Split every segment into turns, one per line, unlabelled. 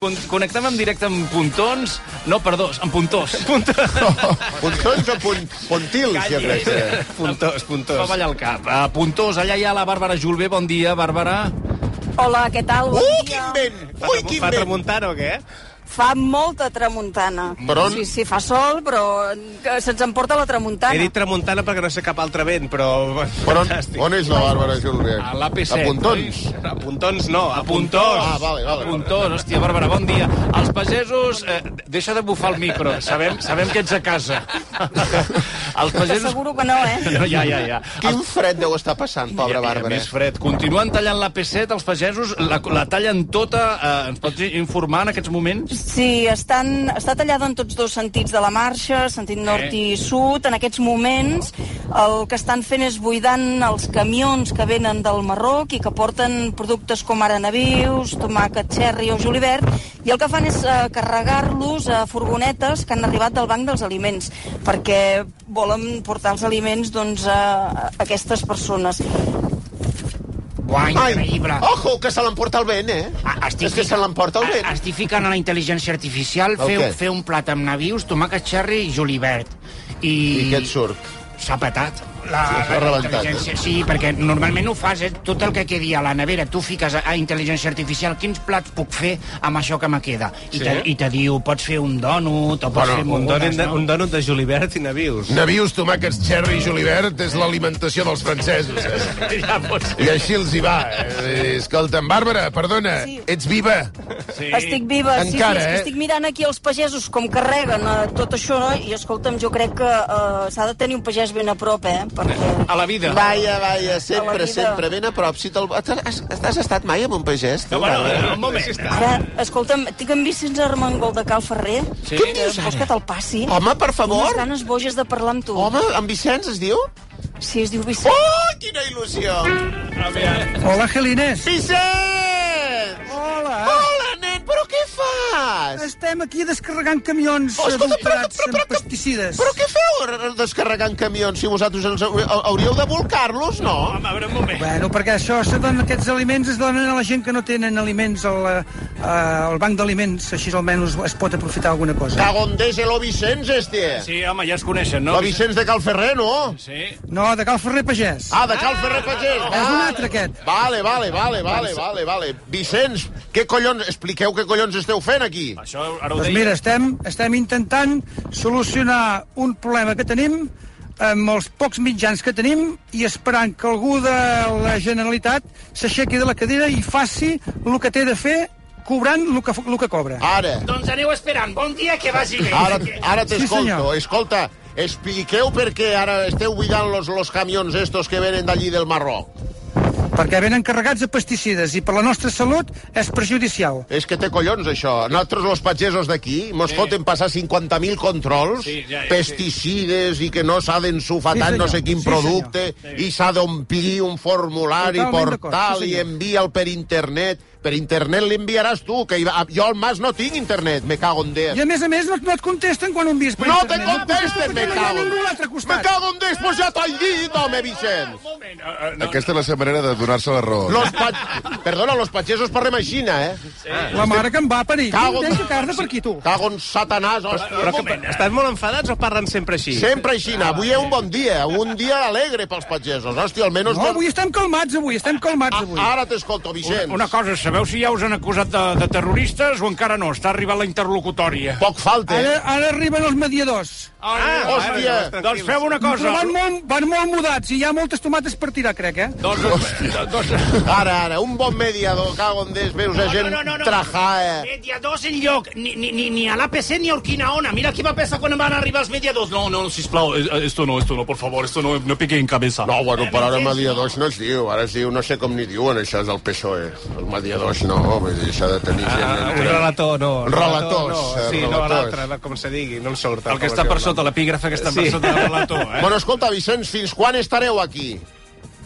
Con- Connectem en directe amb puntons... No, perdó, amb puntós. Puntós.
Puntons o punt, puntils, jo crec que...
Puntós,
Va
puntós.
ballar el cap. Uh, puntós, allà hi ha la Bàrbara Julvé. Bon dia, Bàrbara.
Hola, què tal? Bon
Uh,
dia.
quin vent! Ui, quin
Fa
vent!
remuntar o què?
Fa molta tramuntana.
Per on?
Sí, sí, fa sol, però eh, se'ns emporta la tramuntana.
He dit tramuntana perquè no sé cap altre vent, però...
Per on,
Fantàstic.
on és la Bàrbara Julbert?
A l'AP7.
A Puntons.
A puntons no, a puntós.
Ah, vale, vale.
Puntós, hòstia, Bàrbara, bon dia. Els pagesos... Eh, deixa de bufar el micro, sabem, sabem que ets a casa. Els pagesos...
T'asseguro que no, eh?
Ja, ja, ja.
Quin fred deu estar passant,
Hi
pobra
ha
Bàrbara. eh.
Més fred. Continuen tallant la P7, els pagesos la, la tallen tota. Eh, ens pots informar en aquests moments?
Sí, estan, està tallada en tots dos sentits de la marxa, sentit nord i sud. En aquests moments el que estan fent és buidant els camions que venen del Marroc i que porten productes com ara navius, tomàquet, xerri o julivert, i el que fan és eh, carregar-los a furgonetes que han arribat del Banc dels Aliments, perquè volen portar els aliments doncs, a, a aquestes persones.
Buah,
Ai,
increïble. Ah,
ojo, que se l'emporta el vent, eh?
A- estic Ah,
És que se l'emporta el
fi-
vent.
a- Estic ficant a la intel·ligència artificial
El
fer,
què?
fer un plat amb navius, tomàquet xerri i julivert. I,
I què et surt?
S'ha petat. La,
Sí, s'ha rebentat,
intel·ligència- Sí, perquè normalment ho fas, eh? tot el que quedi a la nevera, tu fiques a, a intel·ligència artificial quins plats puc fer amb això que me queda. I,
Sí?
te, i te diu, pots fer un dònut, o pots
Bueno,
fer
Un dònut,
mogudes,
de,
no?
un dònut de Julivert i Navius.
Navius, tomàquets, xerri i julivert és l'alimentació dels francesos. Eh? I així els hi va. Eh? Escolta'm, Bàrbara, perdona,
Sí.
ets viva?
Sí. Estic viva, sí,
Encara,
sí, és
eh?
que estic mirant aquí els pagesos com carreguen eh, tot això i, escolta'm, jo crec que eh, s'ha de tenir un pagès ben a prop, eh? Perquè...
A la vida.
Vaja, vaja,
A la
sempre,
vida.
sempre, ben a prop. Si te'l... Has, has estat mai amb un pagès, tu, Bàrbara?
un moment.
Ara, escolta'm, tinc en Vicenç Armengol de Cal Ferrer.
Sí?
Que Vols que te'l passi?
Home, per favor!
Unes ganes boges de parlar amb tu.
Home, en Vicenç es diu?
Sí, es diu
Oh,
Vicenç.
quina il·lusió!
Hola, Gelines.
Vicenç!
Ah.
Hola.
Hola, nen, però què fas?
Estem aquí descarregant camions
Oh, escolta, però-
adulterats
però- però-
amb pesticides.
Però què feu r- descarregant camions si vosaltres els hau- hauríeu de volcar-los, no?
Ah.
Bueno, perquè això se dona, aquests aliments es donen a la gent que no tenen aliments al, eh, al banc d'aliments, així almenys es pot aprofitar alguna cosa.
Cagondés el Vicenç, este.
Sí, home, ja es coneixen, no?
El Vicenç de Cal Ferrer, no?
Sí.
No, de Cal Ferrer Pagès.
Ah, de Cal Ferrer Pagès.
És un
vale.
altre, aquest.
Vale, vale, vale, vale, vale, vale. Vicenç, què collons... Expliqueu què collons esteu fent aquí.
Això ara ho
Doncs
deia.
mira, estem, estem intentant solucionar un problema que tenim amb els pocs mitjans que tenim i esperant que algú de la Generalitat s'aixequi de la cadira i faci el que té de fer cobrant el que, el que cobra.
Ara,
Doncs aneu esperant. Bon dia, que vagi bé.
ara, ara t'escolto.
senyor.
Escolta, expliqueu per què ara esteu buidant los, los camions estos que venen d'allí del Marroc.
perquè venen carregats de pesticides i per la nostra salut és perjudicial.
És que té collons, això. Nosaltres, los pagesos d'aquí, mos foten passar 50.000 controls,
Sí, ja, ja,
pesticides i que no s'ha d'ensufar
Sí,
tant no
senyor.
sé quin
Sí,
producte, i s'ha d'omplir un formulari
Totalment d'acord,
portal
sí,
i
senyor.
envia'l per internet. Per internet l'enviaràs tu, que hi va... jo al Mas no tinc internet, me cago en Déu.
I a més a més no, no et contesten quan un vist per
No te
internet.
contesten, me
perquè no hi ha
cago en...
ningú a l'altre
Me
costat.
cago en Déu, pues ja t'ho he dit, home, Vicenç.
eh,
Aquesta és la seva manera de donar-se la raó.
Los pa... Perdona, los pagesos parlem així, eh?
La mare que em va parir.
Cago-
Cago... Deixa carne per aquí, tu.
Cago en satanàs, hòstia.
Però que, estan molt enfadats o parlen sempre així?
Sempre així, avui és un bon dia, un dia alegre pels pagesos. Hòstia, almenys...
No, avui estem calmats, avui, estem calmats, avui.
A, ara t'escolto, Vicenç.
Una cosa, sabeu si ja us han acusat de, de terroristes o encara no? Està arribant la interlocutòria.
Poc falta,
Ara,
eh?
ara arriben els mediadors.
Ah,
hòstia.
Doncs feu una cosa.
Però van molt, van molt mudats i hi ha moltes tomates per tirar, crec, eh?
Doncs, hòstia. Doncs,
Ara, ara, un bon mediador, cago en Déu, veus a gent trajada.
Mediadors en lloc, ni, ni, ni, ni a l'APC ni a Urquinaona. Mira què va passar quan van arribar els mediadors. No, no,
Sisplau, eh, esto no, esto no, por favor, esto no, no pique en cabeza.
No, bueno, però ara mediadors no es diu, ara es diu, no sé com ni diuen això és del PSOE. E. Els mediadors no, vull dir, s'ha de tenir gent...
Ah, un
entre-
relator, no.
Relators,
No. Sí,
eh,
no,
relators.
l'altre, com se digui, no em surt.
el que està per sota, l'epígraf que està per sota del relator, eh?
Bueno, escolta, Vicenç, fins quan estareu aquí?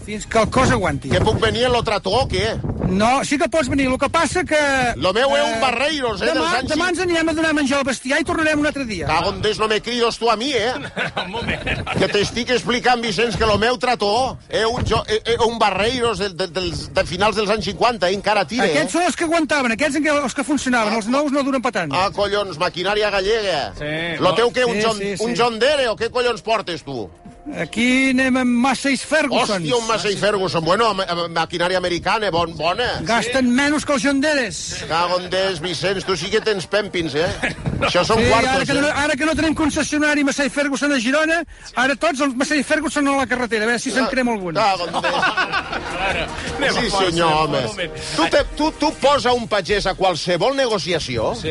fins que el cos aguanti.
Que puc venir a l'altre to o què?
No, sí que pots venir, el que passa que...
Lo meu es un barreiros, eh, dels
Demà,
anys
demà ens anirem a donar a menjar al bestiar i tornarem un altre dia.
Cago en Déu, no me cridos tu a mi, eh?
Un moment.
Que t'estic explicant, Vicenç, que el meu trató és un, jo, eh, eh, un barreiros de, de, dels, de finals dels anys 50, eh? encara tira,
Aquests
eh?
són els que aguantaven, aquests en què- els que funcionaven, els nous no duren per tant.
Ah, collons, maquinària gallega. Sí, lo teu què, un,
Sí,
John,
sí, sí.
un John Dere o què collons portes tu?
Aquí anem amb Masseis Ferguson.
Hòstia, un Massey Ferguson. Bueno, ma- ma- maquinària americana, bon, bona.
Gasten menys que els jonderes.
Cago en Déu, Vicenç, tu sí que tens pèmpins, eh? Això són
Sí, ara,
quartos,
que no,
eh?
ara que no tenim concessionari Massey Ferguson a Girona, ara tots els Massey Ferguson a la carretera, a veure si
Ah,
se'n crema algun.
Cago en Déu.
Anem a
doncs Sí,
fons, anem
senyor,
a
home.
fons, un moment.
Tu, te, tu, tu posa un pagès a qualsevol negociació. Sí.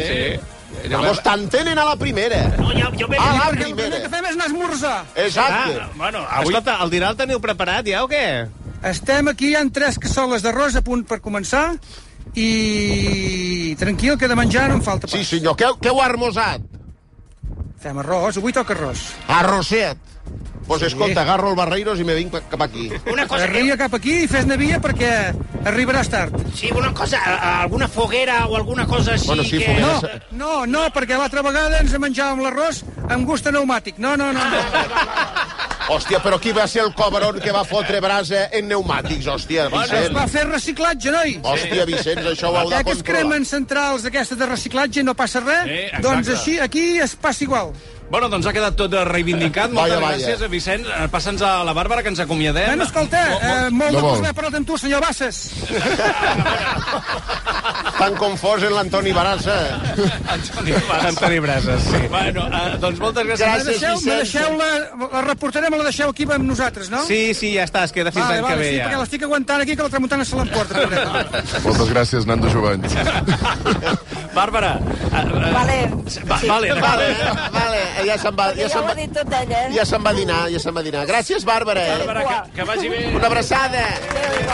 Vamos, t'entenen a la primera.
No, ja, jo m'he...
A la
Perquè el primer que
ah, primera.
fem és anar a esmorzar.
Exacte.
Ah, Bueno,
Avui...
avui...
Escolta, el dinar el teniu preparat ja o què?
Estem aquí, hi ha tres cassoles d'arròs a punt per començar i tranquil, que de menjar no en falta pas.
Sí, senyor. Què, què heu armosat?
Fem arròs, avui toca arròs.
Arrosset. Pues escolta, agarro el Barreiros i me vinc cap aquí.
Una cosa que...
Arria cap aquí i fes navia perquè arribaràs tard.
Sí, una cosa, a- a- alguna foguera o alguna cosa així
Bueno, sí,
que...
foguera.
No,
Esa-
no, no, perquè l'altra vegada ens menjàvem l'arròs amb gust a pneumàtic. No, no, no.
Hòstia, però qui va ser el cobron que va fotre brasa en pneumàtics, hòstia,
Es
Vicenç?
va fer reciclatge, noi.
Hòstia, Vicenç, això ho heu
Ja
de
que es
controlar.
cremen centrals d'aquestes de reciclatge i no passa res,
Eh, exacte.
doncs així aquí es passa igual.
Bueno, doncs ha quedat tot eh, reivindicat. Moltes
Vaja, vaja.
gràcies, Vicenç. Eh, Passa'ns a la Bàrbara, que ens acomiadem.
Bueno, escolta, eh, molt
No
de
vol.
gust haver parlat amb tu, senyor Bassas.
Tan confós en l'Antoni Barassa.
Antoni Mas.
Antoni Brases, sí.
Bueno, eh, doncs moltes gràcies.
Me deixeu, me deixeu la, la reportarem, me la deixeu aquí amb nosaltres, no?
Sí, sí, ja està, es queda fins
Vale,
l'any que
vale,
ve
sí, perquè
ja.
l'estic aguantant aquí que la tramuntana se l'emporta. pobreta.
Moltes gràcies, Nando Jovany.
Bàrbara. eh, eh,
Vale.
Va, vale,
Vale,
vale.
vale, ja se'n va, ja
ja
se'n
ho
va,
ha dit tot ella, eh?
ja se'n va a dinar, ja se'n va a dinar. Gràcies, Bàrbara.
Bàrbara, que, que vagi bé.
Una abraçada.